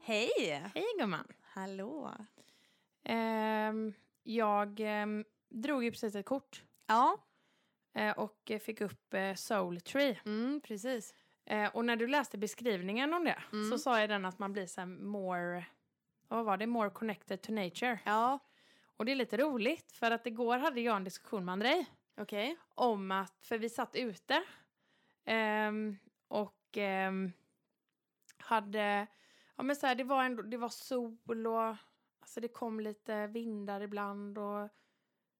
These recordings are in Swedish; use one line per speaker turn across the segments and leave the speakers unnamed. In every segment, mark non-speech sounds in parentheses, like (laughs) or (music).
Hej!
Hej gumman.
Hallå.
Ehm, jag ehm, drog ju precis ett kort
Ja,
eh, och eh, fick upp eh, Soul Tree.
mm, precis.
Eh, och när du läste beskrivningen om det så sa jag den att man blir så här more, vad var det, more connected to nature.
Ja,
Och det är lite roligt för att igår hade jag en diskussion med Andrej
okej.
om att, för vi satt ute ehm, och ehm, hade, ja men så här, det var ändå, det var sol och alltså det kom lite vindar ibland och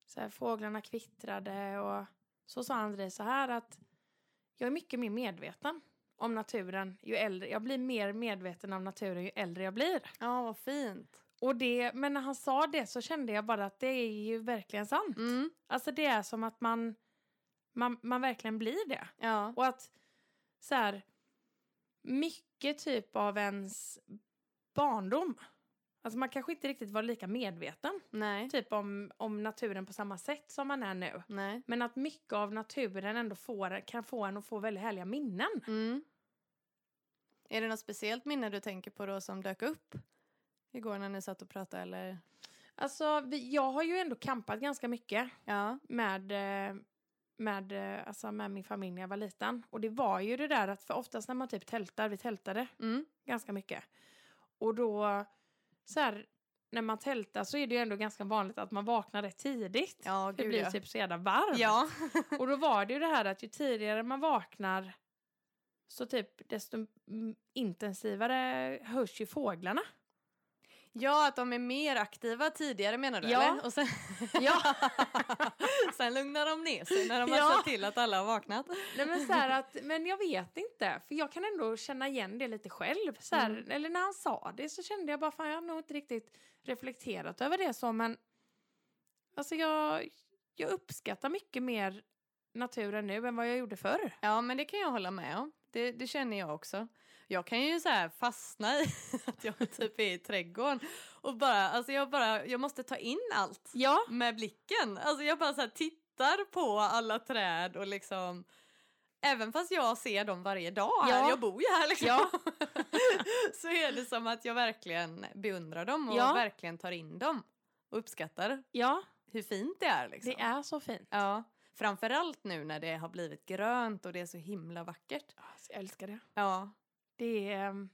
så här, fåglarna kvittrade och så sa André så här att jag är mycket mer medveten om naturen ju äldre, jag blir mer medveten om naturen ju äldre jag blir.
Ja, vad fint.
Och det, men när han sa det så kände jag bara att det är ju verkligen sant.
Mm.
Alltså det är som att man, man, man verkligen blir det.
Ja,
Och att så här, mycket typ av ens barndom, alltså man kanske inte riktigt var lika medveten
nej.
typ om, om naturen på samma sätt som man är nu.
Nej.
Men att mycket av naturen ändå får, kan få en att få väldigt härliga minnen.
Mm. Är det något speciellt minne du tänker på då som dök upp igår när ni satt och pratade eller?
Alltså vi, jag har ju ändå kampat ganska mycket
Ja,
med, eh, med, eh, alltså med min familj när jag var liten. Och det var ju det där att för oftast när man typ tältar, vi tältade
mm.
ganska mycket. Och då, så här, när man tältar så är det ju ändå ganska vanligt att man vaknar rätt tidigt.
Ja,
det
gud,
blir
ja.
typ så jävla varmt.
ja.
Och då var det ju det här att ju tidigare man vaknar så typ desto mm, intensivare hörs ju fåglarna.
ja, att de är mer aktiva tidigare menar du?
Ja.
Eller? Och sen,
Ja.
(laughs) sen lugnar de ner sig när de har
Ja.
sett till att alla har vaknat.
Nej, men, så här att, men jag vet inte, för jag kan ändå känna igen det lite själv. Så här, Eller när han sa det så kände jag bara, fan jag har nog inte riktigt reflekterat över det så, men alltså jag, jag uppskattar mycket mer naturen nu än vad jag gjorde förr.
Ja, men det kan jag hålla med om. Det, det känner jag också. Jag kan ju så här fastna i (laughs) att jag typ är i trädgården och bara, alltså jag bara, jag måste ta in allt
Ja,
med blicken. Alltså jag bara så här tittar på alla träd och liksom, även fast jag ser dem varje dag, här,
Ja.
jag bor ju här liksom,
ja,
(laughs) så är det som att jag verkligen beundrar dem och
Ja.
verkligen tar in dem och uppskattar
ja,
hur fint det är liksom.
det är så fint.
Ja, framförallt nu när det har blivit grönt och det är så himla vackert.
Alltså, jag älskar det.
Ja.
Det är... ehm,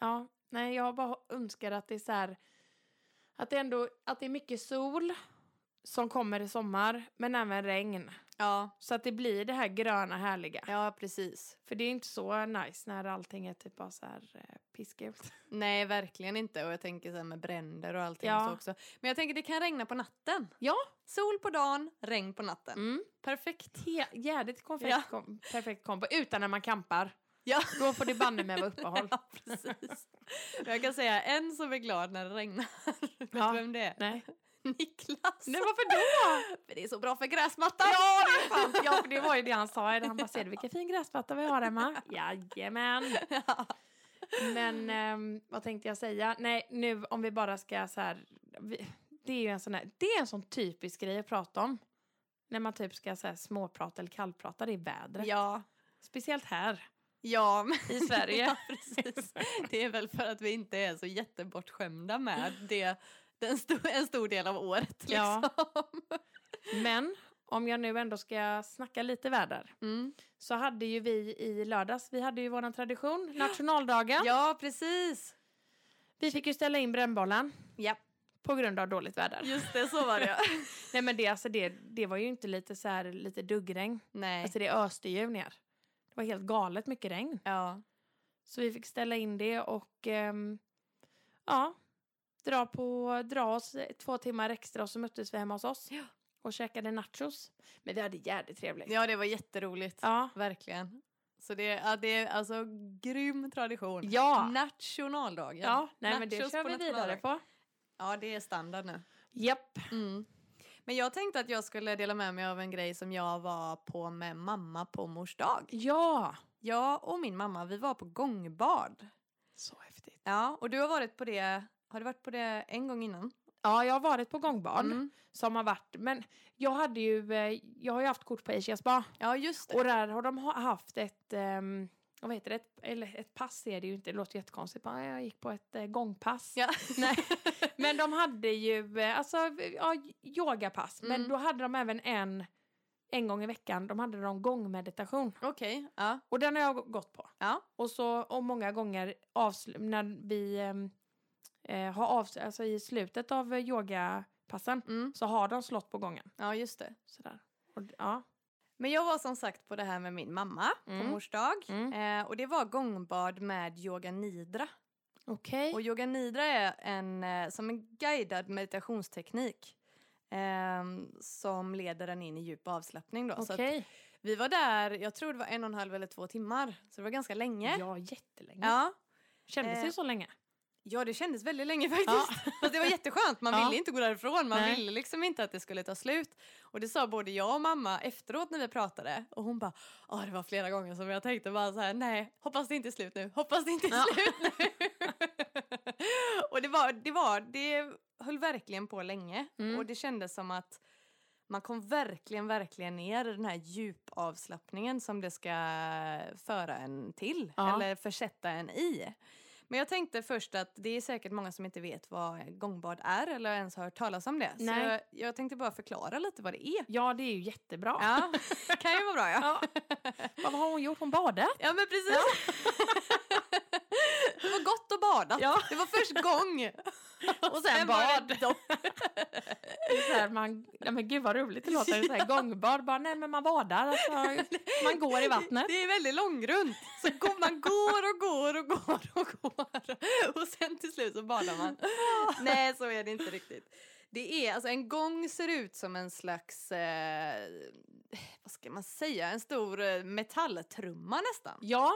Ja, nej, jag bara önskar att det är så här... Att det ändå att det är mycket sol som kommer i sommar, men även regn.
Ja,
Så att det blir det här gröna härliga.
ja precis.
För det är inte så nice när allting är typ bara så här eh, pissgult.
Nej, verkligen inte. Och jag tänker så här med bränder och allting
Ja.
så också. Men jag tänker det kan regna på natten.
Ja.
Sol på dagen, regn på natten.
Mm.
Perfekt.
Te- Jädrigt konfekt,
Ja.
kom, perfekt kombo. Utan när man kampar.
Ja.
Då får det banne mig vara uppehåll.
(laughs) ja, precis. Men Jag kan säga en som är glad när det regnar. (laughs) Vet du
Ja.
vem det är?
Nej.
Niklas.
Nej, varför då?
(laughs) För det är så bra för gräsmattan.
Ja, det
(laughs)
är sant. Ja, för det var ju det han sa. Han bara, ser du vilken fin gräsmatta vi har
(laughs)
hemma? Jajamän. Men ehm, vad tänkte jag säga? Nej, nu om vi bara ska så här. Vi, det är ju en sån här, det är en sån typisk grej att prata om. När man typ ska så här, småprata eller kallprata, det är vädret.
Ja.
Speciellt här.
Ja, men...
I
(laughs)
Sverige.
ja, precis. Det är väl för att vi inte är så jättebortskämda med det den sto- en stor del av året. Liksom.
Ja. Men om jag nu ändå ska snacka lite väder.
Mm.
Så hade ju vi i lördags, vi hade ju vår tradition, nationaldagen.
ja, precis.
Vi fick ju ställa in brännbollen
Ja,
på grund av dåligt väder.
just det, så
(laughs)
var det.
Nej men det, alltså det, det var ju inte lite så här, lite duggregn.
Nej.
Alltså det öste ju ner. Det var helt galet mycket regn.
ja.
Så vi fick ställa in det och ehm, ja, dra, på, dra oss två timmar extra och så möttes vi hemma hos oss.
Ja.
Och käkade nachos. Men vi hade jävligt trevligt.
ja, det var jätteroligt.
Ja.
Verkligen. Så det, ja, det är alltså grym tradition.
Ja.
Nationaldagen.
Ja, nej men det
Nachos
kör vi vidare
nationaldagen.
på.
Ja, det är standard nu.
Japp.
Mm. Men jag tänkte att jag skulle dela med mig av en grej som jag var på med mamma på mors dag.
Ja.
Jag och min mamma, vi var på gångbad.
Så häftigt.
Ja, och du har varit på det, har du varit på det en gång innan?
Ja, jag har varit på gångbad
Mm.
som har varit, men jag hade ju, eh, jag har ju haft kort på Asias Spa.
Ja, just det.
Och där har de ha- haft ett, ehm, vad heter det, ett, eller ett pass är det ju inte, det låter jättekonstigt, bara, jag gick på ett eh, gångpass.
Ja.
(laughs) Nej. Men de hade ju eh, alltså, ja, yogapass, men
Mm.
då hade de även en, en gång i veckan, de hade de gångmeditation.
Okej, ja.
Och den har jag gått på.
Ja.
Och så och många gånger avsl- när vi ehm, eh, har avs- alltså i slutet av eh, yogapassen
Mm.
så har de slått på gången.
ja, just det.
Sådär. Och, d- ja.
Men jag var som sagt på det här med min mamma
Mm.
på mors dag.
Mm.
Eh, och det var gångbad med yoga nidra.
Okej.
Och yoga nidra är en, eh, som en guidad meditationsteknik. ehm, som leder den in i djup avslappning då. Så Alltså att
Okej.
vi var där, jag tror det var en och en halv eller två timmar. Så det var ganska länge.
Ja, jättelänge.
Ja,
Kändes det
Eh, (laughs)
så länge?
ja det kändes väldigt länge faktiskt. (laughs)
Ja.
Fast det var jätteskönt, man
Ja.
ville inte gå därifrån. Man
Nej.
ville liksom inte att det skulle ta slut. Och det sa både jag och mamma efteråt när vi pratade. Och hon bara, ja det var flera gånger som jag tänkte bara så här, nej, hoppas det inte är slut nu, hoppas det inte är
Ja.
slut nu. (laughs) och det var, det var, det höll verkligen på länge.
Mm.
Och det kändes som att man kom verkligen, verkligen ner i den här djupavslappningen som det ska föra en till.
Ja.
Eller försätta en i. Men jag tänkte först att det är säkert många som inte vet vad gångbad är eller ens har hört talas om det.
Nej.
Så jag, jag tänkte bara förklara lite vad det är.
(laughs) Ja, det är ju jättebra.
Ja, kan ju vara bra ja.
(laughs) Ja. Vad har hon gjort? Hon badat?
Ja men precis. (laughs) det var gott att bada.
Ja.
Det var först (laughs) gång.
Och sen
var
bad.
det dopp.
Det är så här, man, ja, men gud vad roligt det låter.
(laughs)
Så här, gångbad. Bara, nej, men man badar. Alltså, man går i vattnet.
Det är väldigt långrunt. Så går, (laughs) man går och går och går och går. Och sen till slut så badar man. (laughs) Nej, så är det inte riktigt. Det är, alltså en gång ser ut som en slags, eh, vad ska man säga, en stor eh, metalltrumma nästan.
Ja.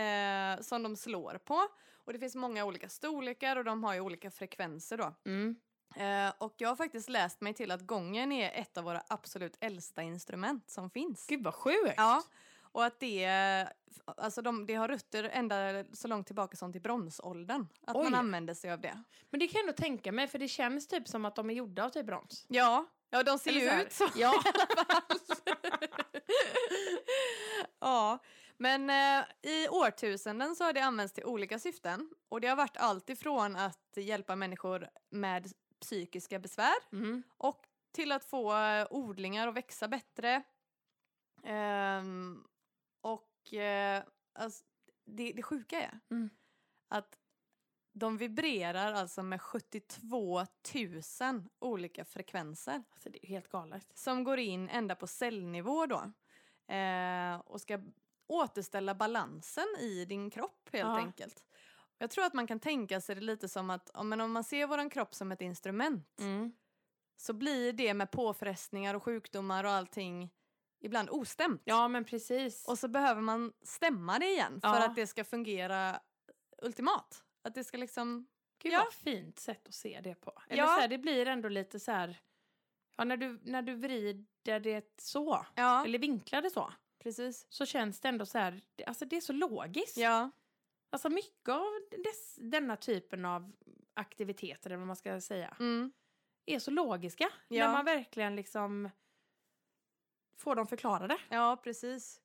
Eh, som de slår på. Och det finns många olika storlekar och de har ju olika frekvenser då.
Mm.
Eh, och jag har faktiskt läst mig till att gången är ett av våra absolut äldsta instrument som finns.
Gud vad sjukt.
Ja, och att det, eh, f- alltså de, det har rötter ända så långt tillbaka som till bronsåldern. Att
Oj.
man använder sig av det.
Men det kan jag ändå tänka mig för det känns typ som att de är gjorda av typ brons.
Ja, ja de ser
Eller så
ju
här.
ut så. (laughs)
Ja.
ja, men eh, i årtusenden så har det använts till olika syften. Och det har varit allt ifrån att hjälpa människor med psykiska besvär
Mm.
och till att få eh, odlingar att växa bättre. Ehm, och eh, alltså, det, det sjuka är
Mm.
att de vibrerar alltså med 72 000 olika frekvenser
Alltså det är helt galet.
som går in ända på cellnivå då eh, och ska återställa balansen i din kropp helt
Ja.
enkelt. Jag tror att man kan tänka sig det lite som att ja, men om man ser vår kropp som ett instrument så blir det med påfrestningar och sjukdomar och allting ibland ostämt.
Ja men precis.
Och så behöver man stämma det igen för
Ja.
att det ska fungera ultimat. Att det ska liksom...
Gud
Ja.
vad fint sätt att se det på. Eller
Ja.
så här, det blir ändå lite så här. Ja när du, när du vrider det så.
Ja,
Eller vinklar det så.
precis.
Så känns det ändå så här. det- Alltså det är så logiskt.
Ja,
Alltså mycket av dess, denna typen av aktiviteter eller vad man ska säga.
mm.
Är så logiska.
Ja.
När man verkligen liksom. Får dem förklarade.
ja precis.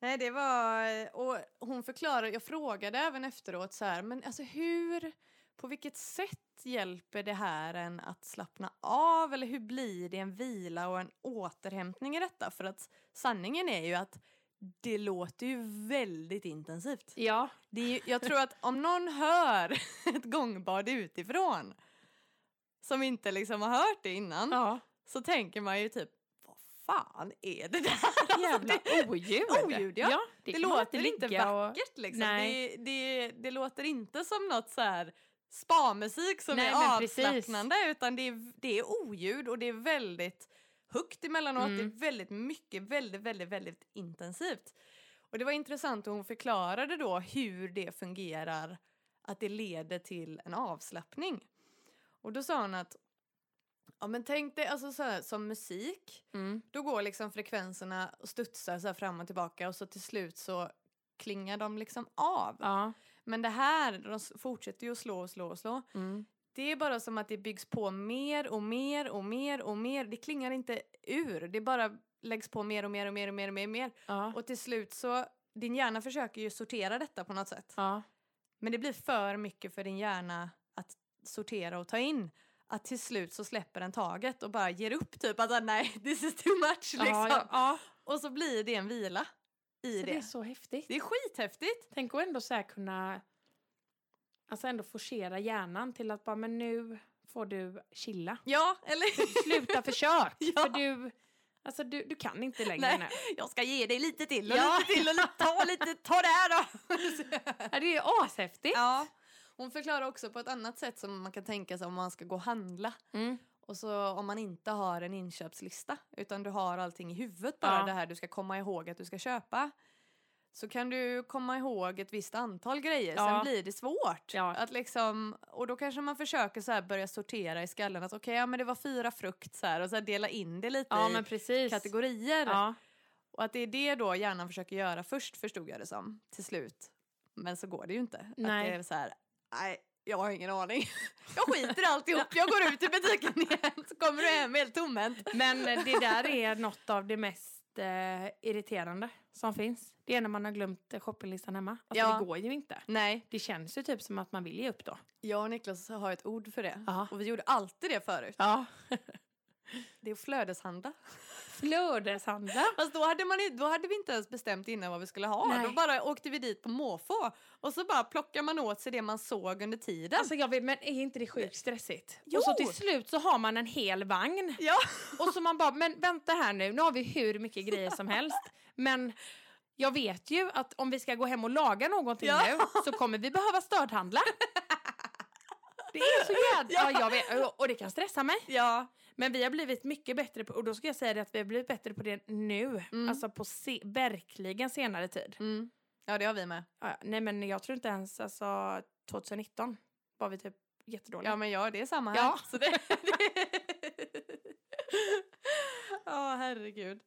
Nej, det var... Och hon förklarade, jag frågade även efteråt så här, men alltså hur, på vilket sätt hjälper det här en att slappna av? Eller hur blir det en vila och en återhämtning i detta? För att sanningen är ju att det låter ju väldigt intensivt.
Ja.
Det är ju, jag tror att om någon hör (laughs) ett gångbad utifrån som inte liksom har hört det innan (laughs)
Mm. Ja.
så tänker man ju typ vad fan är det där?
Jävla oljud.
Alltså, Oljud, ja.
det
Det,
kan man
låter inte
ligga och-
vackert liksom.
Nej.
Det, det, det låter inte som något så här spa-musik som
Nej,
är
men precis.
avslappnande utan det är, det är oljud och det är väldigt högt emellanåt.
Mm.
Det är väldigt mycket, väldigt, väldigt, väldigt intensivt. Och det var intressant och hon förklarade då hur det fungerar att det leder till en avslappning. Och då sa hon att ja men tänk dig alltså så här, som musik
Mm.
då går liksom frekvenserna och studsar så här fram och tillbaka och så till slut så klingar de liksom av.
Ja.
Men det här, de s- fortsätter ju att slå och slå och slå.
Mm.
Det är bara som att det byggs på mer och mer och mer och mer. Det klingar inte ur, det bara läggs på mer och mer och mer och mer och mer. Och, mer.
Ja.
och till slut så din hjärna försöker ju sortera detta på något sätt.
Ja.
Men det blir för mycket för din hjärna att sortera och ta in. Att till slut så släpper den taget och bara ger upp typ att nej, (laughs) this is too much liksom.
Ja, ja, ja.
Och så blir det en vila i
Så
det.
Alltså, det är så häftigt.
Det är skithäftigt!
Tänk att ändå så här kunna alltså ändå forcera hjärnan till att bara men nu får du chilla.
Ja, eller (laughs)
Sluta försök!
Ja.
För du, alltså du, du kan inte längre
Nej.
nu.
jag ska ge dig lite till och
Ja.
lite till och lite, ta lite, ta det här då!
Ja, det är
(laughs)
ashäftigt.
Ja. Hon förklarar också på ett annat sätt som man kan tänka sig om man ska gå och handla.
Mm.
Och så om man inte har en inköpslista utan du har allting i huvudet bara
Ja.
det här du ska komma ihåg att du ska köpa. Så kan du komma ihåg ett visst antal grejer, sen
Ja.
blir det svårt.
Ja.
Att liksom, och då kanske man försöker så här börja sortera i skallen att okej, ja, men det var fyra frukt så här, och så här dela in det lite
ja
i
men precis.
kategorier.
Ja.
Och att det är det då hjärnan försöker göra först förstod jag det som till slut. Men så går det ju inte.
Nej.
Att det är så här, nej jag har ingen aning. (laughs) Jag (laughs) skiter i alltihop, jag går ut i butiken igen så kommer du hem helt tomhänt.
Men eh, det där är något av det mest eh, irriterande som finns. Det är när man har glömt eh, shoppinglistan hemma. Alltså
Ja.
det går ju inte.
Nej,
Det känns ju typ som att man vill ge upp då.
jag och Niklas har ett ord för det.
Ja.
Och vi gjorde alltid det förut.
Ja.
Det är att flödeshandla.
Flödeshandla.
Fast då hade, man, i- då hade vi inte ens bestämt innan vad vi skulle ha.
Nej.
Då bara åkte vi dit på måfå och så bara plockar man åt sig det man såg under tiden.
Alltså jag vet, men är inte det sjukt stressigt?
Jo!
Och så till slut så har man en hel vagn.
ja.
Och så man bara, men vänta här nu, nu har vi hur mycket grejer som helst. Men jag vet ju att om vi ska gå hem och laga någonting
Ja.
nu så kommer vi behöva stödhandla. Det är så jävla... Ja. jag vet, och det kan stressa mig.
ja.
Men vi har blivit mycket bättre på, och då ska jag säga det att vi har blivit bättre på det nu.
Mm.
Alltså på se, verkligen senare tid.
Mm. Ja, det har vi med.
Ja, nej men jag tror inte ens, alltså 2019 var vi typ jättedåliga.
Ja, men ja, det är samma här.
Ja.
(laughs) Så det, det... Ja, herregud.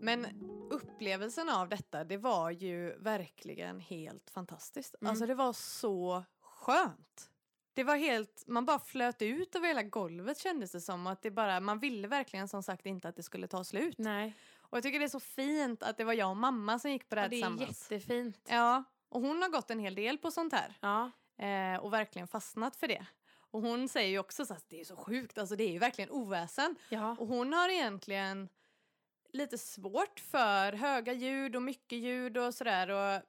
Men upplevelsen av detta, det var ju verkligen helt fantastiskt.
Mm.
Alltså det var så skönt. Det var helt, man bara flöt ut över hela golvet kändes det som. Att det bara, man ville verkligen som sagt inte att det skulle ta slut.
Nej.
Och jag tycker det är så fint att det var jag och mamma som gick på det här
Ja, det är
tillsammans.
jättefint.
Ja, och hon har gått en hel del på sånt här
Ja.
eh, och verkligen fastnat för det. Och hon säger ju också så att det är så sjukt, alltså det är ju verkligen oväsen.
ja.
Och hon har egentligen lite svårt för höga ljud och mycket ljud och sådär. Och,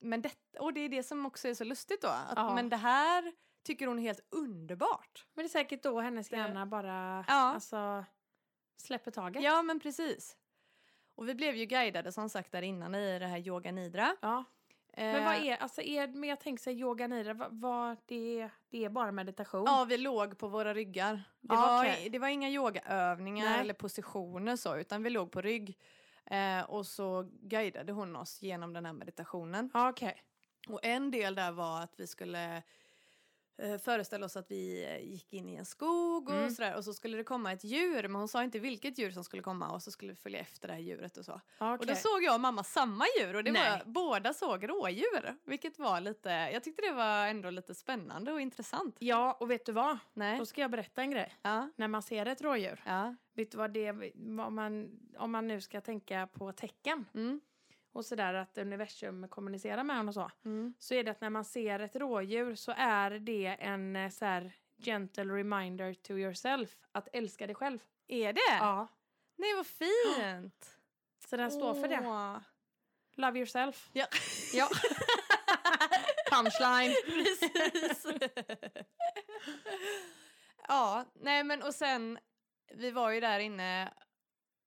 men det, och det är det som också är så lustigt då, att,
Ja.
men det här tycker hon är helt underbart.
Men det är säkert då hennes
Det-
hjärna bara
Ja.
alltså, släpper taget.
Ja, men precis. Och vi blev ju guidade som sagt där innan i det här yoga nidra.
Ja. Men
Eh,
vad är, alltså är, men jag tänker så här, yoga nidra, vad, vad det, är, det är bara meditation?
Ja, vi låg på våra ryggar. Det,
Ja,
var,
okej.
det var inga yogaövningar
Nej.
eller positioner så, utan vi låg på rygg. Eh, och så guidade hon oss genom den här meditationen.
Ja, okej.
Och en del där var att vi skulle eh, föreställa oss att vi eh, gick in i en skog och
Mm.
sådär. Och så skulle det komma ett djur, men hon sa inte vilket djur som skulle komma. Och så skulle vi följa efter det här djuret och så.
Ja,
Och
okej.
då såg jag och mamma samma djur och det
Nej.
var, båda såg rådjur. Vilket var lite, jag tyckte det var ändå lite spännande och intressant.
Ja, och vet du vad?
Nej.
Då ska jag berätta en grej.
Ja.
När man ser ett rådjur,
Ja.
vet du vad det vad man, om man nu ska tänka på tecken
Mm.
och sådär att universum kommunicerar med en och så,
Mm.
så är det att när man ser ett rådjur så är det en eh, så här gentle reminder to yourself att älska dig själv.
Är det?
Ja.
Nej, vad fint!
Så den står för det.
Åh.
Love yourself.
Ja,
Ja. (laughs) Punchline.
(laughs) precis. ja, nej men och sen, vi var ju där inne,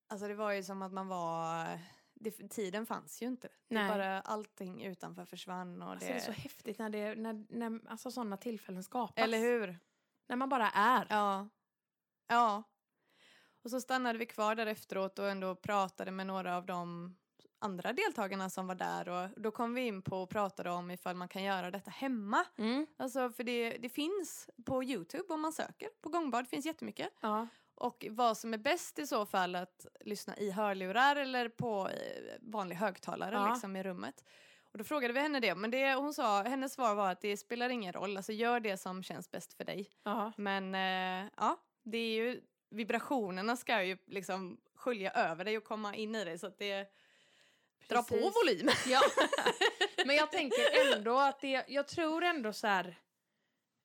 alltså det var ju som att man var, det, tiden fanns ju inte. Det
Nej.
bara allting utanför försvann och
Alltså,
det,
det är så häftigt när, det, när, när alltså, sådana tillfällen skapas.
eller hur?
När man bara är.
Ja. Ja. Och så stannade vi kvar där efteråt och ändå pratade med några av de andra deltagarna som var där och då kom vi in på och pratade om ifall man kan göra detta hemma.
Mm.
Alltså för det, det finns på Youtube om man söker på gångbad, det finns jättemycket.
Ja.
Och vad som är bäst i så fall att lyssna i hörlurar eller på eh, vanlig högtalare
Ja.
liksom i rummet. Och då frågade vi henne det, men det, hon sa, hennes svar var att det spelar ingen roll, alltså gör det som känns bäst för dig.
ja.
Men eh, ja, det är ju vibrationerna ska ju liksom skölja över dig och komma in i dig så att det drar på
Precis.
volymen.
Ja. (laughs) Men jag tänker ändå att det, jag tror ändå så här,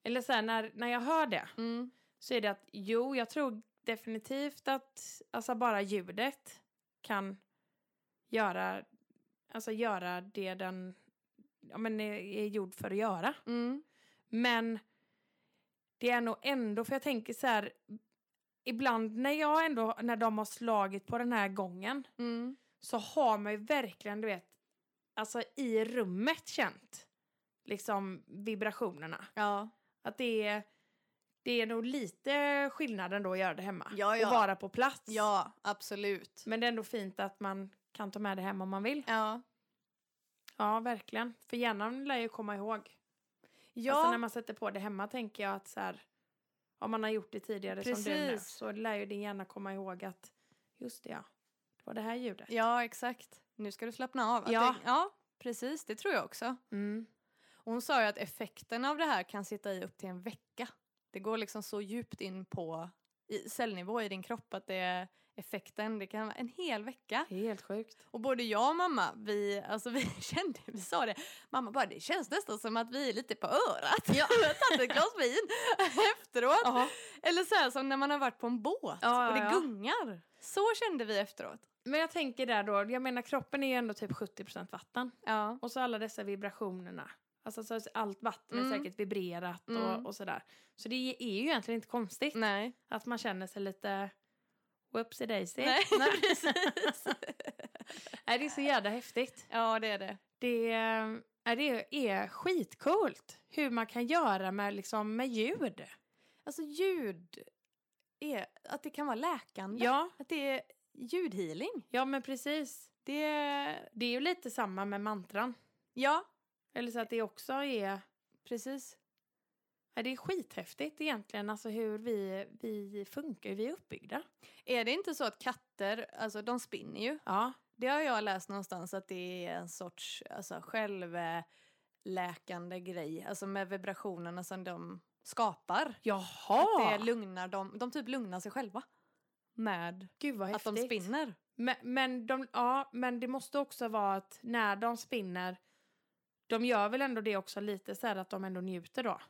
eller så här när, när jag hör det
(laughs) Mm.
så är det att jo, jag tror definitivt att alltså bara ljudet kan göra, alltså göra det den ja, men är, är gjord för att göra.
Mm.
Men det är nog ändå, för jag tänker så här, ibland när jag ändå, när de har slagit på den här gången
Mm.
så har man ju verkligen, du vet, alltså i rummet känt liksom vibrationerna.
Ja.
Att det är, det är nog lite skillnaden då att göra det hemma
Ja, ja.
och vara på plats.
ja, absolut.
Men det är ändå fint att man kan ta med det hem om man vill.
Ja.
Ja, verkligen. För hjärnan lär ju komma ihåg.
Ja,
Alltså när man sätter på det hemma tänker jag att så här, om man har gjort det tidigare som du nu
Precis.
så lär ju din hjärna komma ihåg att just det ja, det var det här ljudet.
ja, exakt. Nu ska du slappna av. Att
Ja.
Det, ja, precis. Det tror jag också.
Mm.
Och hon sa ju att effekten av det här kan sitta i upp till en vecka. Det går liksom så djupt in på i cellnivå i din kropp att det är effekten, det kan vara en hel vecka.
Det är helt (laughs) sjukt.
Och både jag och mamma, vi, alltså (laughs) vi kände, vi sa det, mamma bara det känns nästan som att vi är lite på örat. (laughs) Ja. Vi har tagit ett glas vin (laughs) efteråt.
Jaha.
Eller så här som när man har varit på en båt
Ja,
och det
ja, ja.
gungar. Så kände vi efteråt.
Men jag tänker där då, jag menar kroppen är ju ändå typ 70% vatten.
Ja.
Och så alla dessa vibrationerna. Alltså så att allt vatten är
Mm.
säkert vibrerat
Mm.
och, och sådär. Så det är ju egentligen inte konstigt
Nej.
att man känner sig lite whoopsie daisy.
Nej, (laughs)
precis. (laughs) Nej, det är så jävla häftigt.
Ja det är det.
Det, är- nej, det är skitcoolt hur man kan göra med, liksom, med ljud.
Alltså ljud, är, att det kan vara läkande.
Ja,
Att det är ljudhealing.
ja men precis.
Det är...
Det är ju lite samma med mantran.
Ja,
Eller så att det också är...
precis.
Ja, det är skithäftigt egentligen, alltså hur vi, vi funkar, hur vi är uppbyggda.
Är det inte så att katter, alltså de spinner ju.
Ja,
Det har jag läst någonstans att det är en sorts alltså, självläkande grej. Alltså med vibrationerna som de skapar. Att
Jaha!
det lugnar dem. De typ lugnar sig själva. Med
Gud vad
att
häftigt.
de spinner.
Men, men, de, ja, men det måste också vara att när de spinner, de gör väl ändå det också lite så här att de ändå njuter då?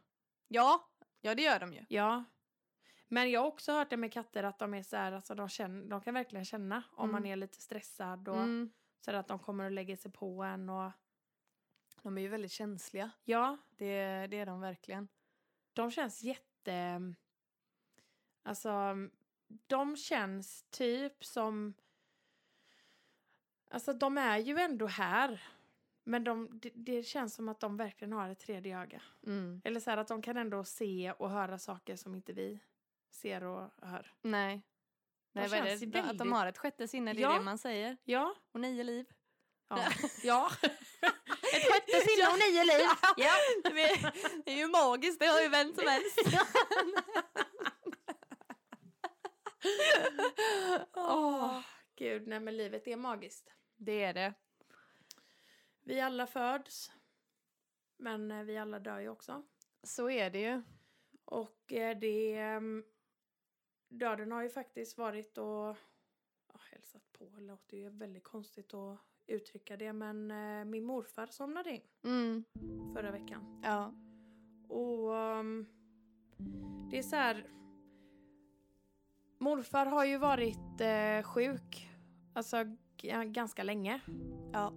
Ja, ja det gör de ju.
Ja. Men jag har också hört det med katter att de är så här, alltså de, känner, de kan verkligen känna om
Mm.
man är lite stressad och
Mm.
så här att de kommer och lägger sig på en och
De är ju väldigt känsliga.
ja,
Det, det är de verkligen.
de känns jätte, alltså de känns typ som, alltså de är ju ändå här men de, det, det känns som att de verkligen har ett tredje öga.
Mm.
Eller så här att de kan ändå se och höra saker som inte vi ser och hör.
Nej.
De
Nej vad är
känns
det?
ju
Att de
väldigt-
har ett sjätte sinne, det är
Ja.
det man säger.
Ja,
Och nio liv. (laughs)
Ja. ja.
Ett sjätte (laughs) sinne och nio liv!
ja.
Det det är ju magiskt, det har ju vem som helst.
Åh, gud, nej men livet är magiskt.
(laughs) Det är det.
Vi alla föds, men eh, vi alla dör ju också.
Så är det ju.
Och eh, det... ehm, Döden har ju faktiskt varit och ja, hälsat på. Det låter ju väldigt konstigt att uttrycka det, men eh, min morfar somnade in
Mm.
förra veckan.
Ja.
Och ehm, det är så här... Morfar har ju varit eh, sjuk alltså g- ganska länge.
Ja.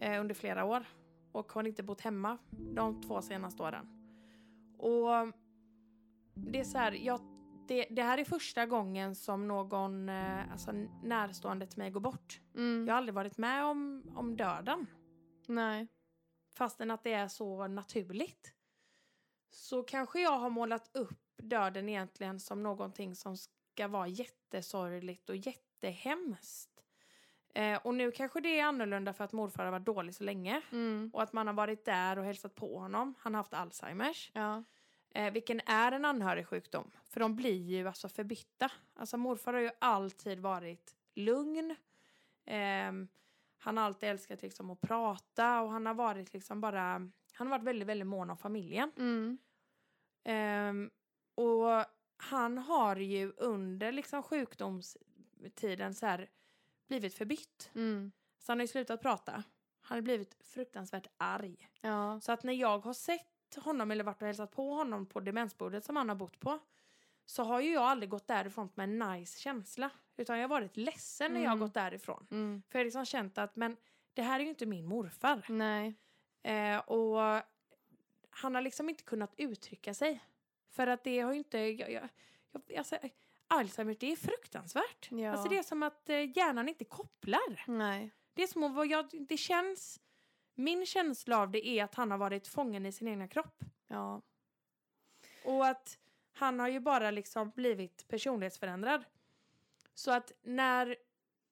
Eh, under flera år. Och har inte bott hemma de två senaste åren. Och det är så här, jag, det, det här är första gången som någon eh, alltså, närstående till mig går bort.
Mm.
Jag har aldrig varit med om, om döden
Nej.
fastän att det är så naturligt så kanske jag har målat upp döden egentligen som någonting som ska vara jättesorgligt och jättehemskt. Eh, och nu kanske det är annorlunda för att morfar har varit dålig så länge
Mm.
och att man har varit där och hälsat på honom. Han har haft Alzheimers,
Ja.
eh, vilken är en anhörig sjukdom. För de blir ju alltså förbytta. Alltså morfar har ju alltid varit lugn. Ehm, han har alltid älskat liksom att prata och han har varit liksom bara han har varit väldigt, väldigt mån om familjen.
Mm.
Ehm, och han har ju under liksom sjukdomstiden så här blivit förbytt.
Mm.
Så han har ju slutat prata. Han har blivit fruktansvärt arg.
Ja.
Så att när jag har sett honom eller varit och hälsat på honom på demensbordet som han har bott på så har ju jag aldrig gått därifrån med en nice känsla. Utan jag har varit ledsen när jag har
Mm.
gått därifrån.
Mm.
För jag har liksom känt att men det här är ju inte min morfar.
Nej. Mm.
Eh, och han har liksom inte kunnat uttrycka sig. För att det har ju inte... Jag, jag, jag, alltså, Alzheimer, det är fruktansvärt.
Ja.
Alltså det är som att eh, hjärnan inte kopplar.
Nej.
Det är som att vara- jag, det känns... Min känsla av det är att han har varit fången i sin egna kropp.
Ja.
Och att han har ju bara liksom blivit personlighetsförändrad. Så att när...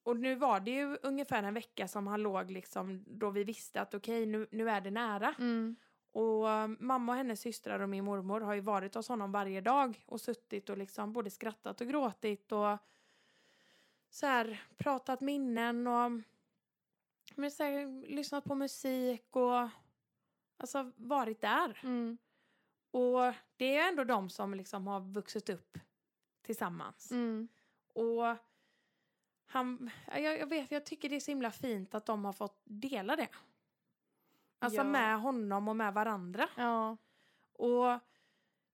Och nu var det ju ungefär en vecka som han låg liksom då vi visste att okej nu, nu är det nära.
Mm.
Och eh, mamma och hennes systrar och min mormor har ju varit hos honom varje dag och suttit och liksom både skrattat och gråtit och så här pratat minnen och men så här, lyssnat på musik och alltså varit där.
Mm.
Och det är ändå de som liksom har vuxit upp tillsammans.
Mm.
Och han, ja, jag, jag vet, jag tycker det är så himla fint att de har fått dela det. Alltså
Ja.
med honom och med varandra.
Ja.
Och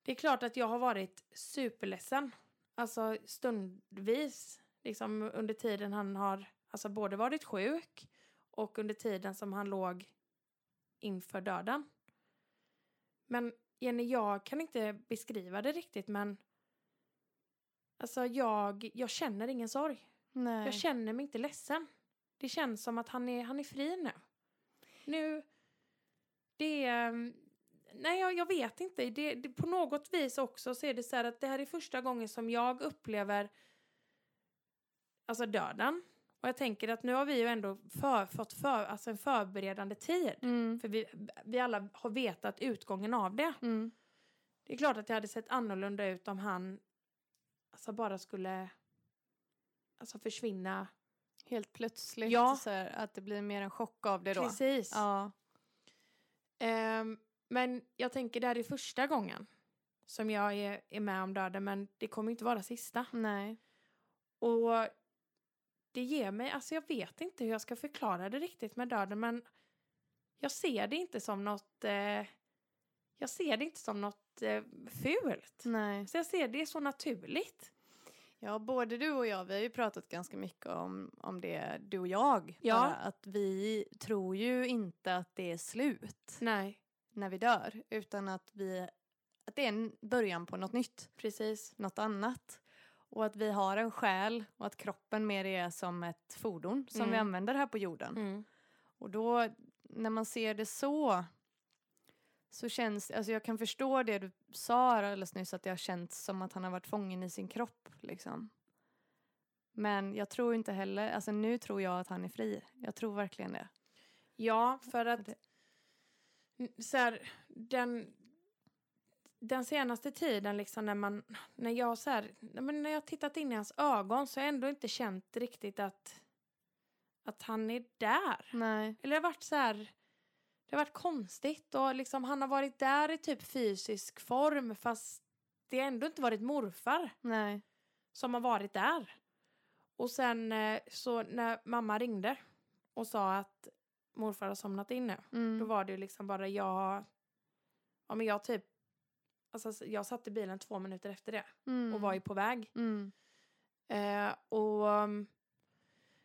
det är klart att jag har varit superledsen. Alltså stundvis. Liksom under tiden han har alltså både varit sjuk och under tiden som han låg inför döden. Men Jenny, jag kan inte beskriva det riktigt men alltså jag, jag känner ingen sorg.
Nej.
Jag känner mig inte ledsen. Det känns som att han är, han är fri nu. Nu, det är... Nej, jag, jag vet inte. Det, det, på något vis också så är det så här att det här är första gången som jag upplever alltså döden. Och jag tänker att nu har vi ju ändå för, fått för, alltså en förberedande tid.
Mm.
För vi, vi alla har vetat utgången av det.
Mm.
Det är klart att det hade sett annorlunda ut om han alltså bara skulle alltså försvinna
Helt plötsligt.
Ja.
Så här, att det blir mer en chock av det då.
Precis.
Ja.
Ehm, men jag tänker det här är första gången som jag är, är med om döden men det kommer inte vara sista.
Nej.
Och det ger mig, alltså jag vet inte hur jag ska förklara det riktigt med döden men jag ser det inte som något, eh, jag ser det inte som något eh, fult.
Nej.
Så jag ser det är så naturligt.
Ja, både du och jag, vi har ju pratat ganska mycket om, om det, du och jag.
Ja.
Bara, att vi tror ju inte att det är slut
Nej,
när vi dör, utan att, vi, att det är en början på något nytt,
precis.
något annat. Och att vi har en själ och att kroppen mer är som ett fordon som vi
Mm.
använder här på jorden.
Mm.
Och då, när man ser det så, så känns alltså jag kan förstå det du sa alldeles nyss, att det har känts som att han har varit fången i sin kropp. Liksom. Men jag tror inte heller, alltså nu tror jag att han är fri. Jag tror verkligen det.
Ja, för att
det-
n- så här, den, den senaste tiden liksom när man när jag så här, nej, men när jag har tittat in i hans ögon så har jag ändå inte känt riktigt att att han är där.
Nej.
Eller det har varit så här det har varit konstigt och liksom han har varit där i typ fysisk form fast det har ändå inte varit morfar
Nej.
som har varit där. Och sen eh, så när mamma ringde och sa att morfar har somnat in nu.
Mm.
Då var det ju liksom bara jag... Ja men jag typ... Alltså så- jag satt i bilen två minuter efter det
mm.
och var ju på väg.
mm.
Eh, och um,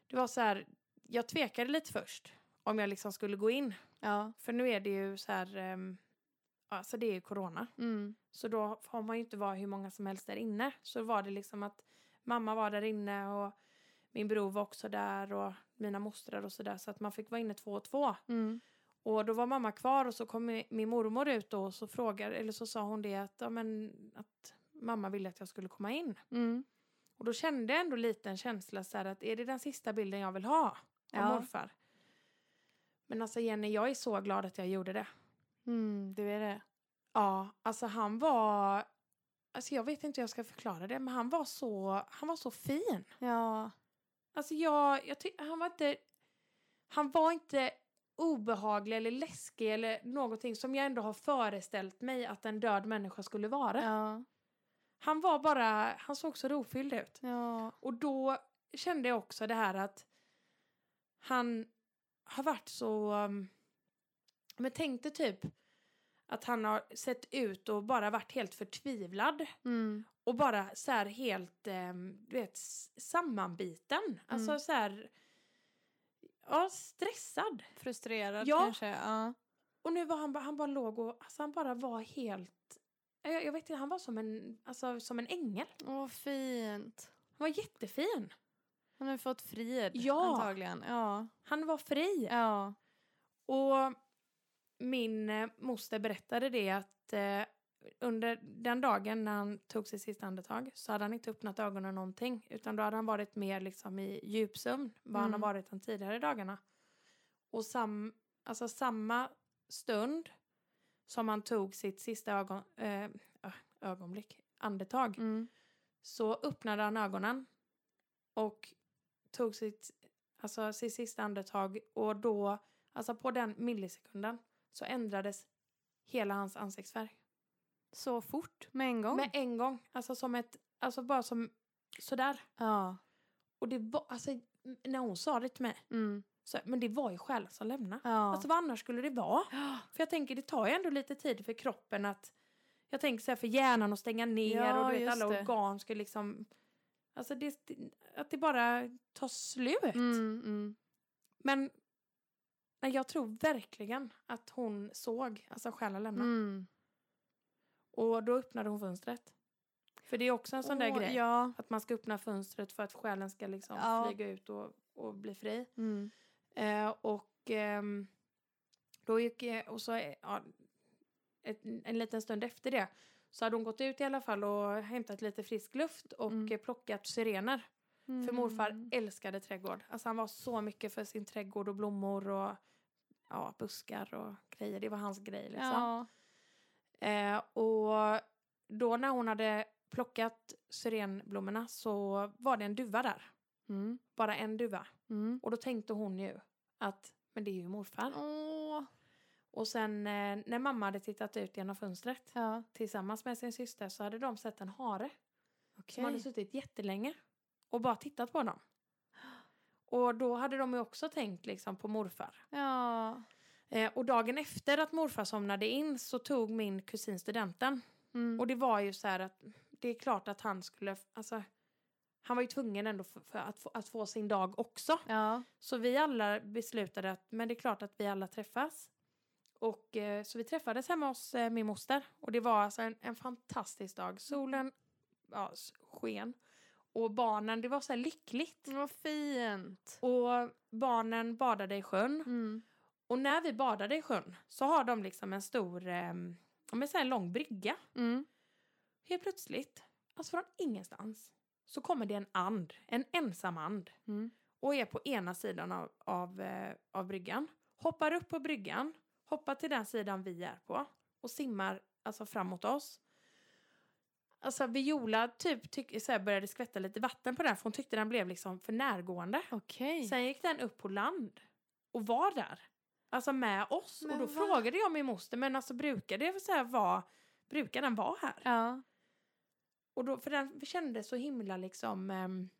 det var så här... Jag tvekade lite först om jag liksom skulle gå in.
Ja.
För nu är det ju så här... ehm, alltså det är ju corona.
Mm.
Så då får man ju inte vara hur många som helst där inne. Så var det liksom att mamma var där inne och min bror var också där och mina mostrar och sådär. Så att man fick vara inne två och två.
Mm.
Och då var mamma kvar och så kom mi- min mormor ut då och så frågade, eller så sa hon det att, ja, men, att mamma ville att jag skulle komma in.
Mm.
Och då kände jag ändå lite en känsla så här att är det den sista bilden jag vill ha av
Ja.
morfar? Men alltså Jenny, jag är så glad att jag gjorde det.
Mm. Du är det.
Ja, alltså han var... Alltså jag vet inte hur jag ska förklara det, men han var så, han var så fin.
Ja.
Alltså jag, jag tyckte han var inte... Han var inte obehaglig eller läskig eller någonting som jag ändå har föreställt mig att en död människa skulle vara.
Ja.
Han var bara, han såg så rofylld ut.
Ja.
Och då kände jag också det här att han har varit så... um, Men tänkte typ att han har sett ut och bara varit helt förtvivlad.
Mm.
Och bara så här helt, ehm, du vet, s- sammanbiten. Alltså
Mm.
så här... Ja, stressad.
Frustrerad
Ja.
kanske. Ja.
Och nu var han, bara- han bara låg och... Alltså han bara var helt... Jag, jag vet inte, han var som en, alltså, som en ängel.
Åh, fint.
Han var jättefin.
Han har ju fått frid
Ja.
antagligen. Ja.
Han var fri.
Ja.
Och min eh, moster berättade det att eh, under den dagen när han tog sitt sista andetag så hade han inte öppnat ögonen någonting utan då hade han varit mer liksom i djupsömn vad han
Mm.
har varit de tidigare dagarna. Och sam, alltså samma stund som han tog sitt sista ögon, eh, ö- ögonblick, andetag
Mm.
så öppnade han ögonen och tog sitt, alltså, sitt sista andetag och då, alltså på den millisekunden, så ändrades hela hans ansiktsfärg.
Så fort med en gång.
Med en gång, alltså som ett, alltså bara som sådär.
Ja.
Och det var, alltså m- när hon sa det till mig,
Mm.
så, men det var ju själen som lämnade.
Ja.
Alltså vad annars skulle det vara?
(gasps) Ja.
För jag tänker det tar ju ändå lite tid för kroppen att, jag tänker så här för hjärnan att stänga ner
Ja,
och du vet
just
alla
det.
organ ska liksom, alltså det, att det bara tar slut.
Mm, mm.
Men nej, jag tror verkligen att hon såg, alltså själen lämna.
Mm.
Och då öppnade hon fönstret. För det är också en sån där
Åh,
grej.
Ja.
Att man ska öppna fönstret för att själen ska liksom
Ja.
flyga ut och, och bli fri.
Mm.
Eh, och ehm, då gick eh, och så, eh, ja, ett, en liten stund efter det så hade hon gått ut i alla fall och hämtat lite frisk luft och
Mm.
eh, plockat syrener. För morfar
Mm.
älskade trädgård. Alltså han var så mycket för sin trädgård och blommor och ja, buskar och grejer. Det var hans grej liksom.
Ja.
Eh, och då när hon hade plockat syrenblommorna så var det en duva där.
Mm.
Bara en duva.
Mm.
Och då tänkte hon ju att men det är ju morfar.
Åh.
Och sen eh, när mamma hade tittat ut genom fönstret
Ja.
tillsammans med sin syster så hade de sett en hare.
Okej.
som hade suttit jättelänge och bara tittat på dem. Och då hade de ju också tänkt liksom på morfar.
Ja.
Eh, och dagen efter att morfar somnade in så tog min kusin studenten.
Mm.
Och det var ju så här att det är klart att han skulle, alltså han var ju tvungen ändå för, för att, få, att få sin dag också.
ja.
Så vi alla beslutade att men det är klart att vi alla träffas. Och eh, så vi träffades hemma hos eh, min moster och det var alltså en, en fantastisk dag. Solen ja, s- sken och barnen, det var så här lyckligt.
Vad fint.
Och barnen badade i sjön
Mm.
och när vi badade i sjön så har de liksom en stor, eh, men så här en lång brygga.
Mm.
Helt plötsligt, alltså från ingenstans, så kommer det en and, en ensam and
Mm.
och är på ena sidan av, av, eh, av bryggan. Hoppar upp på bryggan, hoppar till den sidan vi är på och simmar alltså framåt oss. Alltså Viola typ tyck, så här började skvätta lite vatten på den för hon tyckte den blev liksom för närgående.
Okej.
Sen gick den upp på land och var där. Alltså med oss.
Men
och då
va?
frågade jag min moster, men alltså brukar det så här vara, brukar den vara här?
Ja.
Och då, för den kändes så himla liksom, ehm,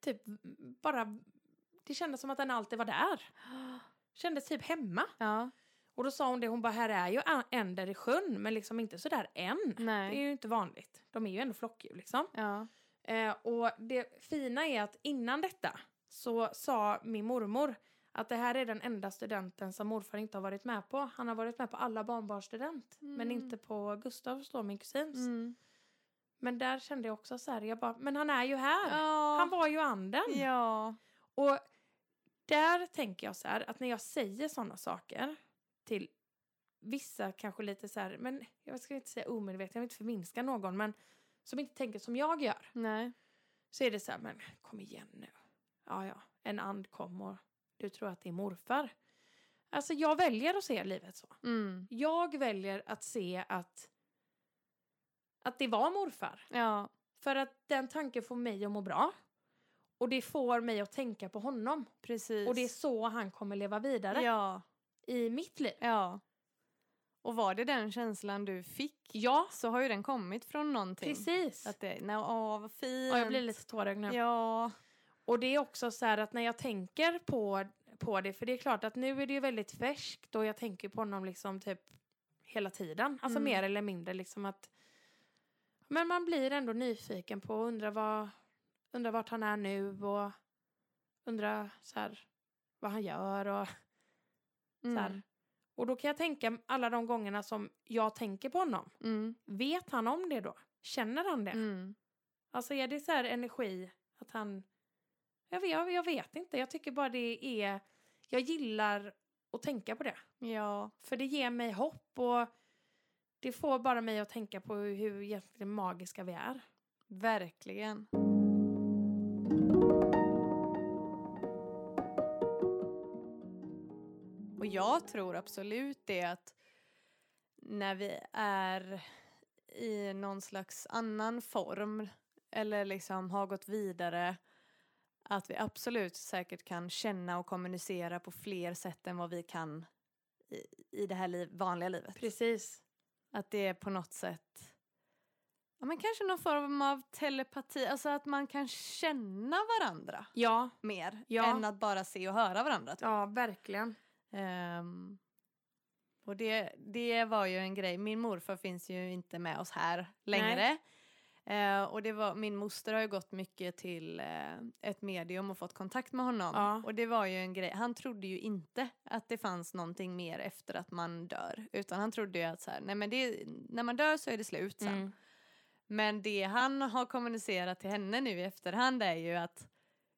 typ bara, det kändes som att den alltid var där. Kändes typ hemma.
Ja.
Och då sa hon det, hon bara här är ju ä- änder i sjön men liksom inte sådär än. Det är
Nej.
ju inte vanligt. De är ju ändå flockdjur liksom.
Ja.
Eh, och det fina är att innan detta så sa min mormor att det här är den enda studenten som morfar inte har varit med på. Han har varit med på alla barnbarnsstudent
Mm.
men inte på Gustavs då, min kusins.
Mm.
Men där kände jag också så här, jag bara, men han är ju här.
Ja.
Han var ju anden.
Ja.
Och där tänker jag så här, att när jag säger sådana saker till vissa kanske lite så här, men jag ska inte säga omedvetet, jag vill inte förminska någon, men som inte tänker som jag gör,
Nej.
så är det så här, men kom igen nu. Ja, ja, en and kom och du tror att det är morfar. Alltså jag väljer att se livet så.
Mm.
Jag väljer att se att, att det var morfar.
Ja.
För att den tanken får mig att må bra. Och det får mig att tänka på honom.
Precis.
Och det är så han kommer leva vidare
Ja.
i mitt liv.
Ja. Och var det den känslan du fick
Ja,
så har ju den kommit från någonting.
precis.
Att det, nej, åh vad fint.
Ja, jag blir lite tårögd nu.
Ja,
Och det är också så här att när jag tänker på, på det, för det är klart att nu är det ju väldigt färskt och jag tänker på honom liksom typ hela tiden. Alltså
Mm.
mer eller mindre liksom att men man blir ändå nyfiken på och undrar vad, undrar vart han är nu och undrar så här vad han gör och så här.
mm.
Och då kan jag tänka alla de gångerna som jag tänker på honom.
Mm.
Vet han om det då? Känner han det?
Mm.
Alltså är det så här energi att han... Jag vet, jag, jag vet inte. Jag tycker bara det är... Jag gillar att tänka på det.
ja.
För det ger mig hopp och det får bara mig att tänka på hur, hur egentligen magiska vi är.
Verkligen. Och jag tror absolut det att när vi är i någon slags annan form eller liksom har gått vidare att vi absolut säkert kan känna och kommunicera på fler sätt än vad vi kan i, i det här liv, vanliga livet.
Precis.
Att det är på något sätt ja, men kanske någon form av telepati, alltså att man kan känna varandra
Ja,
mer
Ja.
än att bara se och höra varandra. typ.
ja verkligen.
Ehm, och det, det var ju en grej, min morfar finns ju inte med oss här längre. Eh, och det var, min moster har ju gått mycket till eh, ett medium och fått kontakt med honom.
Ja.
Och det var ju en grej, han trodde ju inte att det fanns någonting mer efter att man dör. Utan han trodde ju att så här, nej men det, när man dör så är det slut sen.
Mm.
Men det han har kommunicerat till henne nu i efterhand är ju att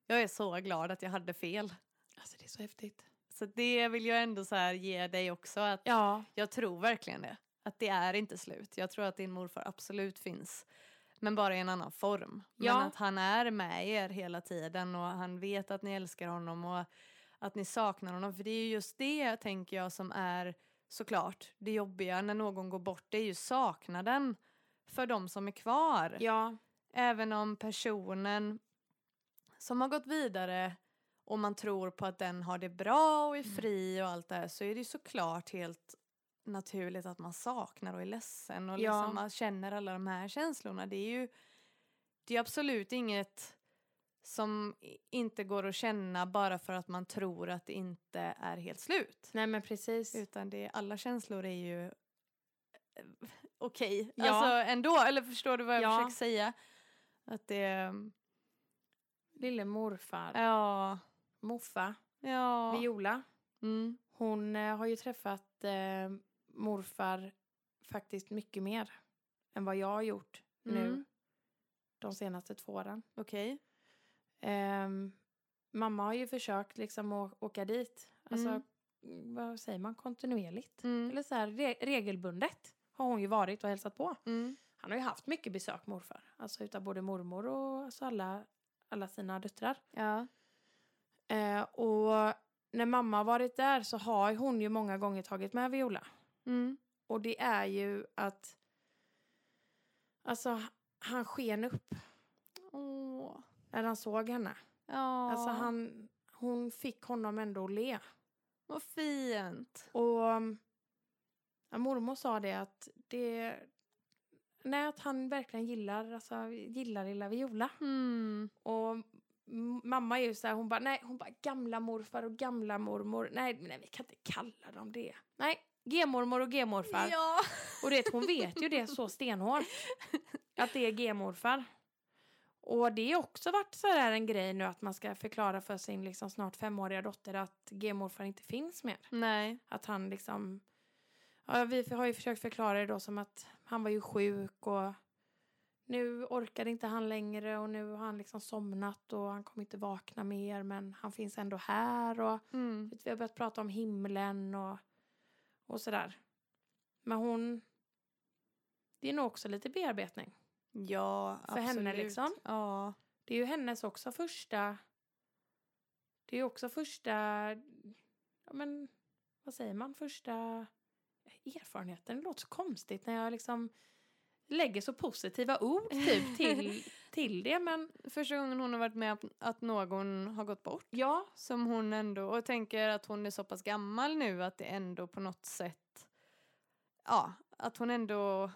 jag är så glad att jag hade fel.
Alltså det är så häftigt.
Så det vill jag ändå så här ge dig också att
Ja,
jag tror verkligen det. Att det är inte slut. Jag tror att din morfar absolut finns. Men bara i en annan form.
Ja.
Men att han är med er hela tiden och han vet att ni älskar honom och att ni saknar honom. För det är ju just det, tänker jag, som är såklart det jobbiga när någon går bort. Det är ju saknaden för de som är kvar.
ja,
Även om personen som har gått vidare och man tror på att den har det bra och är fri och allt det här så är det ju såklart helt naturligt att man saknar och är ledsen och
Ja.
liksom man känner alla de här känslorna. Det är ju det är absolut inget som i- inte går att känna bara för att man tror att det inte är helt slut.
nej men precis.
Utan det, alla känslor är ju eh, okej.
Ja.
Alltså ändå, eller förstår du vad jag
Ja.
försöker säga? Att det,
Lille morfar,
ja,
moffa,
ja.
Viola.
Mm.
Hon eh, har ju träffat eh, morfar faktiskt mycket mer än vad jag har gjort
Mm.
nu de senaste två åren.
Okej.
Ehm, mamma har ju försökt liksom å- åka dit, alltså
Mm.
vad säger man, kontinuerligt.
Mm.
Eller så här re- regelbundet har hon ju varit och hälsat på.
Mm.
Han har ju haft mycket besök morfar, alltså utav både mormor och alltså alla, alla sina döttrar.
Ja.
Eh, och när mamma har varit där så har hon ju många gånger tagit med Viola.
Mm.
Och det är ju att... Alltså, han sken upp
Åh.
när han såg henne.
Ja.
Alltså, han, hon fick honom ändå att le.
Vad fint.
Och um, ja, mormor sa det att det... Nej, att han verkligen gillar, alltså, gillar lilla Viola.
Mm.
Och m- mamma är ju så här, hon bara, nej, hon bara, gamla morfar och gamla mormor. Nej, nej, vi kan inte kalla dem det. Nej, g-mormor och g-morfar.
Ja.
Och det, hon vet ju det så stenhårt. Att det är g-morfar. Och det har också varit så här en grej nu att man ska förklara för sin liksom snart femåriga dotter att g-morfar inte finns mer.
Nej.
Att han liksom... Ja, vi har ju försökt förklara det då som att han var ju sjuk och nu orkade inte han längre och nu har han liksom somnat och han kommer inte vakna mer men han finns ändå här och
Mm.
vi har börjat prata om himlen och, och sådär. Men hon... Det är nog också lite bearbetning.
Ja,
För henne,
absolut.
liksom.
Ja.
Det är ju hennes också första... Det är ju också första... Ja, men vad säger man? Första erfarenheten. Det låter så konstigt när jag liksom lägger så positiva ord typ till, till det. Men
Första gången hon har varit med att- att någon har gått bort.
ja,
Som hon ändå, och tänker att hon är så pass gammal nu att det ändå på något sätt ja, att hon ändå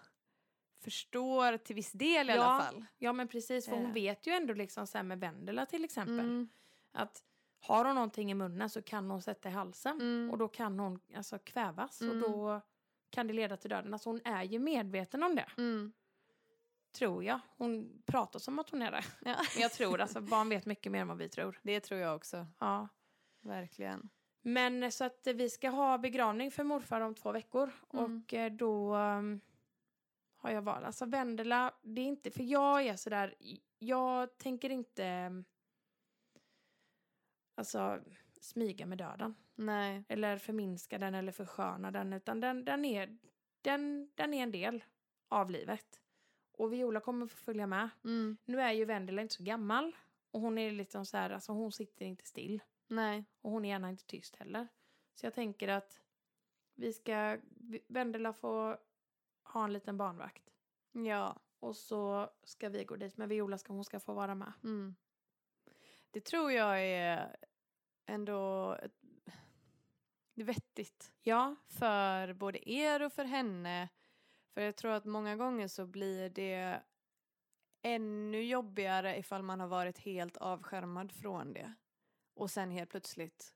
förstår till viss del i alla fall.
Ja, men precis. För
Eh.
hon vet ju ändå liksom så här med Vendela till exempel.
Mm,
Att har hon någonting i munnen så kan hon sätta i halsen.
mm,
Och då kan hon alltså kvävas
Mm.
och då kan det leda till döden. Alltså hon är ju medveten om det,
mm.
tror jag. Hon pratar som att hon är det.
Ja,
Men (laughs) jag tror alltså, barn vet mycket mer än vad vi tror.
det tror jag också,
Ja.
verkligen.
Men eh, så att eh, vi ska ha begravning för morfar om två veckor.
Mm.
Och eh, då ehm, har jag valt, alltså Vendela, det är inte, för jag är sådär, jag tänker inte ehm, alltså smyga med döden.
Nej,
eller förminska den eller försköna den utan den, den, är, den, den är en del av livet. Och Viola kommer få följa med.
mm,
Nu är ju Vendela inte så gammal och hon är liksom så här, alltså hon sitter inte still
nej,
och hon är gärna inte tyst heller. Så jag tänker att vi ska, Vendela får ha en liten barnvakt
ja.
och så ska vi gå dit men Viola ska, hon ska få vara med.
Mm. Det tror jag är ändå ett- vettigt
Ja,
för både er och för henne. För jag tror att många gånger så blir det ännu jobbigare ifall man har varit helt avskärmad från det. Och sen helt plötsligt,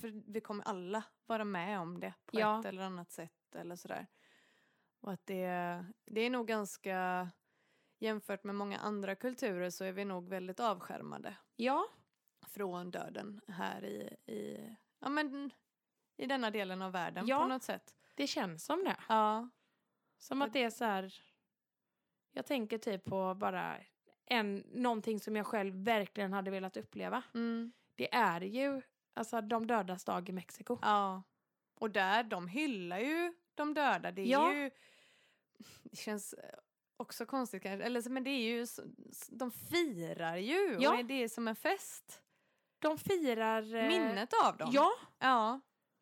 för vi kommer alla vara med om det på
Ja.
ett eller annat sätt eller sådär. Och att det, det är nog ganska, jämfört med många andra kulturer så är vi nog väldigt avskärmade
ja,
från döden här i, i, ja, men, i denna delen av världen på
Ja.
något sätt.
det känns som det.
Ja.
Som att det är så här... Jag tänker typ på bara en, någonting som jag själv verkligen hade velat uppleva.
Mm.
Det är ju alltså de dödas dag i Mexiko.
ja. Och där, de hyllar ju de döda. Det är
Ja.
ju... Det känns eh, också konstigt kanske. Eller, så- men det är ju... så- s- De firar ju.
Ja.
Och det är som en fest.
De firar... eh,
Minnet av dem.
Ja,
ja.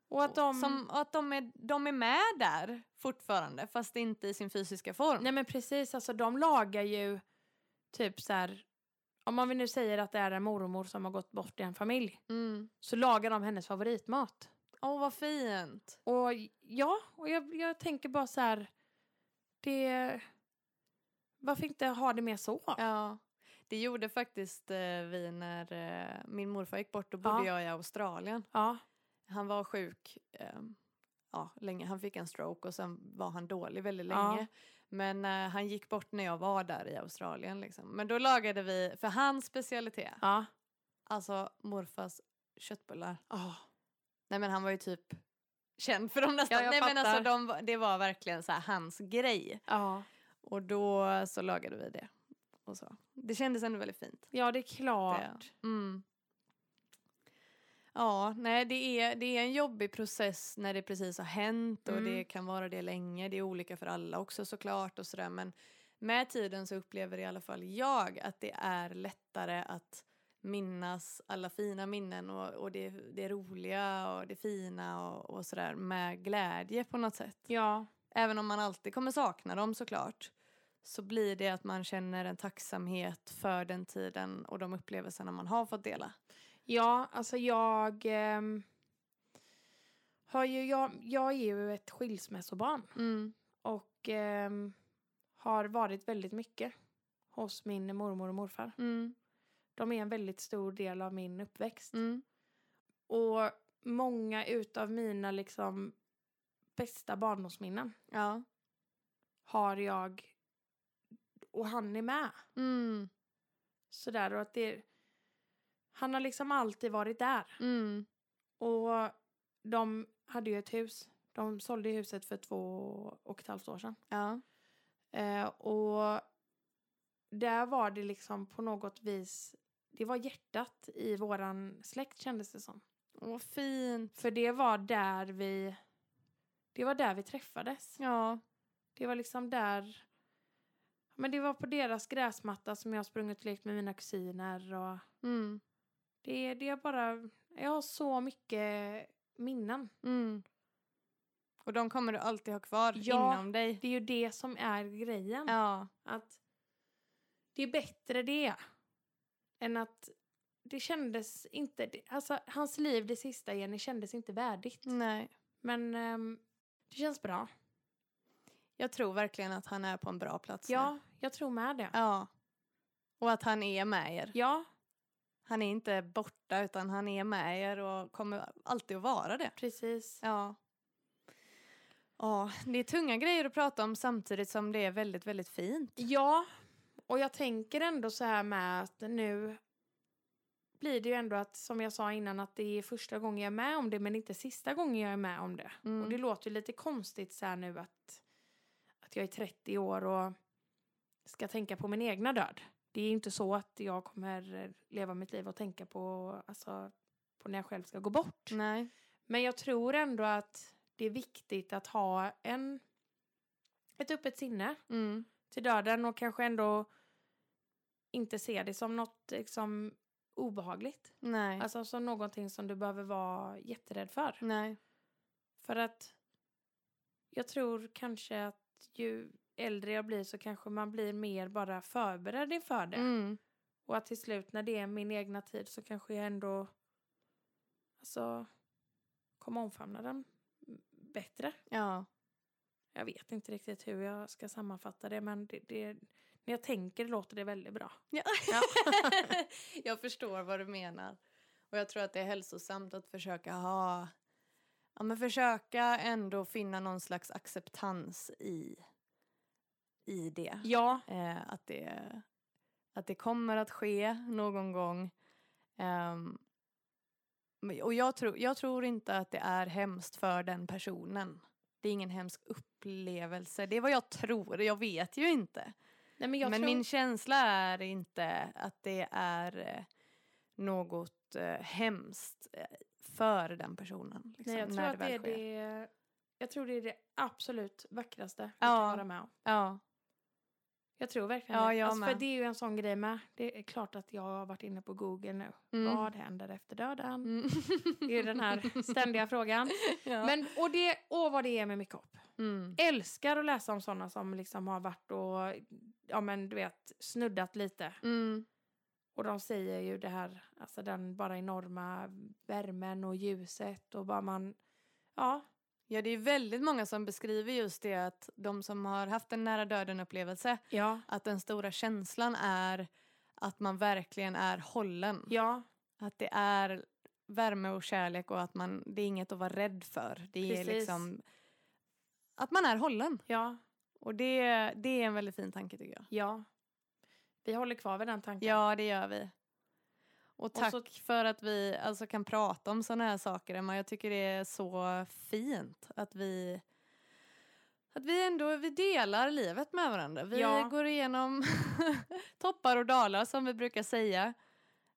och att de...
Som, och att de är, de är med där fortfarande, fast inte i sin fysiska form.
Nej men precis, alltså de lagar ju typ så här... Om man nu säger att det är en mormor som har gått bort i en familj
Mm.
så lagar de hennes favoritmat.
Åh, vad fint.
Och ja, och jag, jag tänker bara så här... Det... Varför inte ha det mer så?
Ja. Det gjorde faktiskt eh, vi när eh, min morfar gick bort. Då bodde
Ja.
jag i Australien.
ja.
Han var sjuk ehm, ja, länge. Han fick en stroke och sen var han dålig väldigt
Ja.
länge. Men eh, han gick bort när jag var där i Australien. Liksom. Men då lagade vi, för hans specialitet,
Ja.
alltså morfars köttbullar.
Oh.
Nej men han var ju typ känd för dem nästan.
Ja, jag
Nej, men
fattar.
alltså, de, var- det var verkligen så här, hans grej.
Ja.
Och då så lagade vi det. Och så. Det kändes ändå väldigt fint.
ja, det är klart.
Det. Mm. Ja, nej det är, det är en jobbig process när det precis har hänt och
Mm.
det kan vara det länge. Det är olika för alla också såklart och sådär men med tiden så upplever i alla fall jag att det är lättare att minnas alla fina minnen och, och det, det roliga och det fina och, och sådär med glädje på något sätt.
Ja.
Även om man alltid kommer sakna dem såklart så blir det att man känner en tacksamhet för den tiden och de upplevelserna man har fått dela.
ja, alltså jag... ehm, har ju, jag, jag är ju ett skilsmässobarn
Mm.
och ehm, har varit väldigt mycket hos min mormor och morfar.
Mm.
De är en väldigt stor del av min uppväxt.
Mm.
Och många utav mina liksom bästa barndomsminnen
Ja.
har jag... Och han är med.
Mm.
Sådär, och att det... Han har liksom alltid varit där.
Mm.
Och de hade ju ett hus. De sålde ju huset för två och ett halvt år sedan.
Ja.
Eh, och där var det liksom på något vis, det var hjärtat i våran släkt kändes det som.
Åh, fint.
För det var där vi, det var där vi träffades.
Ja.
Det var liksom där, men det var på deras gräsmatta som jag sprungit och lekt med mina kusiner och
Mm.
det, det är bara, jag har så mycket minnen.
Mm. Och de kommer du alltid ha kvar
Ja.
inom dig.
Det är ju det som är grejen.
Ja.
Att det är bättre det än att det kändes inte... det- Alltså, hans liv det
Mm.
sista Jenny kändes inte värdigt.
Nej.
Men ehm, det känns bra.
Jag tror verkligen att han är på en bra plats nu.
Ja, jag tror med det.
Ja. Och att han är med er.
Ja,
Han är inte borta utan han är med er och kommer alltid att vara det.
precis.
Ja. Ja, det är tunga grejer att prata om samtidigt som det är väldigt, väldigt fint.
Ja, och jag tänker ändå så här med att nu blir det ju ändå att, som jag sa innan, att det är första gången jag är med om det men inte sista gången jag är med om det.
Mm.
Och det låter ju lite konstigt så här nu att, att jag är 30 år och ska tänka på min egna död. Det är ju inte så att jag kommer eh, leva mitt liv och tänka på, alltså, på när jag själv ska gå bort.
Nej.
Men jag tror ändå att det är viktigt att ha en, ett öppet sinne
Mm.
till döden och kanske ändå inte se det som något liksom, obehagligt.
Nej.
Alltså som någonting som du behöver vara jätterädd för.
Nej.
För att jag tror kanske att ju äldre jag blir så kanske man blir mer bara förberedd inför det.
Mm.
Och att till slut när det är min egna tid så kanske jag ändå alltså, kommer omfamna den bättre.
Ja.
Jag vet inte riktigt hur jag ska sammanfatta det men det, det, när jag tänker låter det väldigt bra.
Ja.
Ja.
(laughs) jag förstår vad du menar. Och jag tror att det är hälsosamt att försöka ha... Ja, men försöka ändå finna någon slags acceptans i, i det.
Ja,
Eh, att, det, att det kommer att ske någon gång. Ehm, men- och jag, tror jag tror inte att det är hemskt för den personen. Det är ingen hemsk upplevelse. Det är vad jag tror, jag vet ju inte.
Nej, men jag
men
tror...
min känsla är inte att det är eh, något eh, hemskt eh, för den personen. Liksom,
Nej, jag tror
när
att det är
väl sker.
det... Jag tror det är det absolut vackraste vi
Ja.
kan vara med om.
Ja,
Jag tror verkligen
Ja,
det.
jag
alltså, för
med.
det är ju en sån grej med. Det är klart att jag har varit inne på Google nu.
Mm.
Vad händer efter döden?
Mm. (laughs)
Det är ju den här ständiga frågan.
ja.
Men, och det, åh vad det är med mycket hopp.
mm.
Älskar att läsa om sådana som liksom har varit och, ja men du vet, snuddat lite.
Mm.
Och de säger ju det här, alltså den bara enorma värmen och ljuset och bara man, ja,
Ja, det är väldigt många som beskriver just det att de som har haft en nära döden-upplevelse,
ja,
att den stora känslan är att man verkligen är hållen.
ja.
Att det är värme och kärlek och att man, det är inget att vara rädd för. Det är
Precis.
liksom att man är hållen.
Ja,
Och det, det är en väldigt fin tanke tycker jag.
ja. Vi håller kvar vid den tanken.
Ja, det gör vi. Och tack
så-
för att vi alltså, kan prata om sådana här saker, Emma. Jag tycker det är så fint att vi, att vi ändå vi delar livet med varandra. Vi
Ja.
går igenom (laughs) toppar och dalar som vi brukar säga.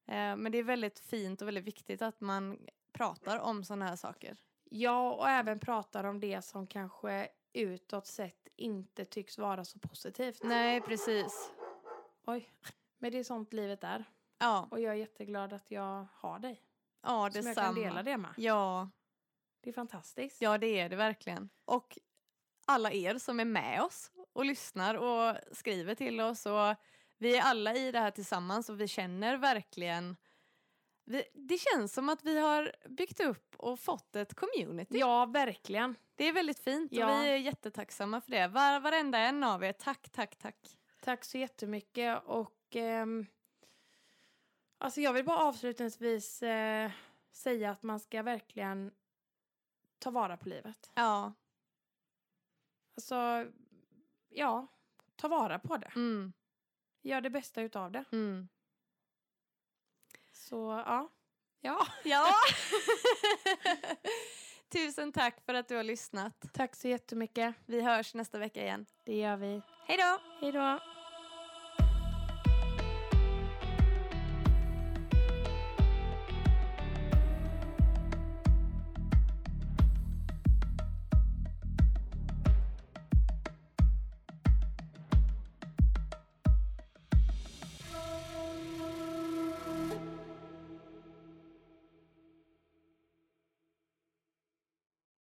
Eh, men det är väldigt fint och väldigt viktigt att man pratar om sådana här saker.
Ja, och även pratar om det som kanske utåt sett inte tycks vara så positivt.
Nej, precis.
Oj. Men det är sånt livet är.
Ja,
Och jag är jätteglad att jag har dig.
ja
som jag kan dela
detsamma.
det med.
Ja,
Det är fantastiskt.
Ja, det är det verkligen. Och alla er som är med oss och lyssnar och skriver till oss. Och vi är alla i det här tillsammans och vi känner verkligen... Vi, det känns som att vi har byggt upp och fått ett community.
Ja, verkligen.
Det är väldigt fint och
Ja.
vi är jättetacksamma för det. Var, varenda en av er, tack, tack, tack.
Tack så jättemycket. Och ehm, alltså jag vill bara avslutningsvis eh, säga att man ska verkligen ta vara på livet.
Ja,
Alltså, ja, ta vara på det.
mm,
Gör det bästa utav det.
mm.
Så ja. Ja.
Ja! (laughs) Tusen tack för att du har lyssnat.
Tack så jättemycket.
Vi hörs nästa vecka igen.
Det gör vi.
Hej då!
Hej då.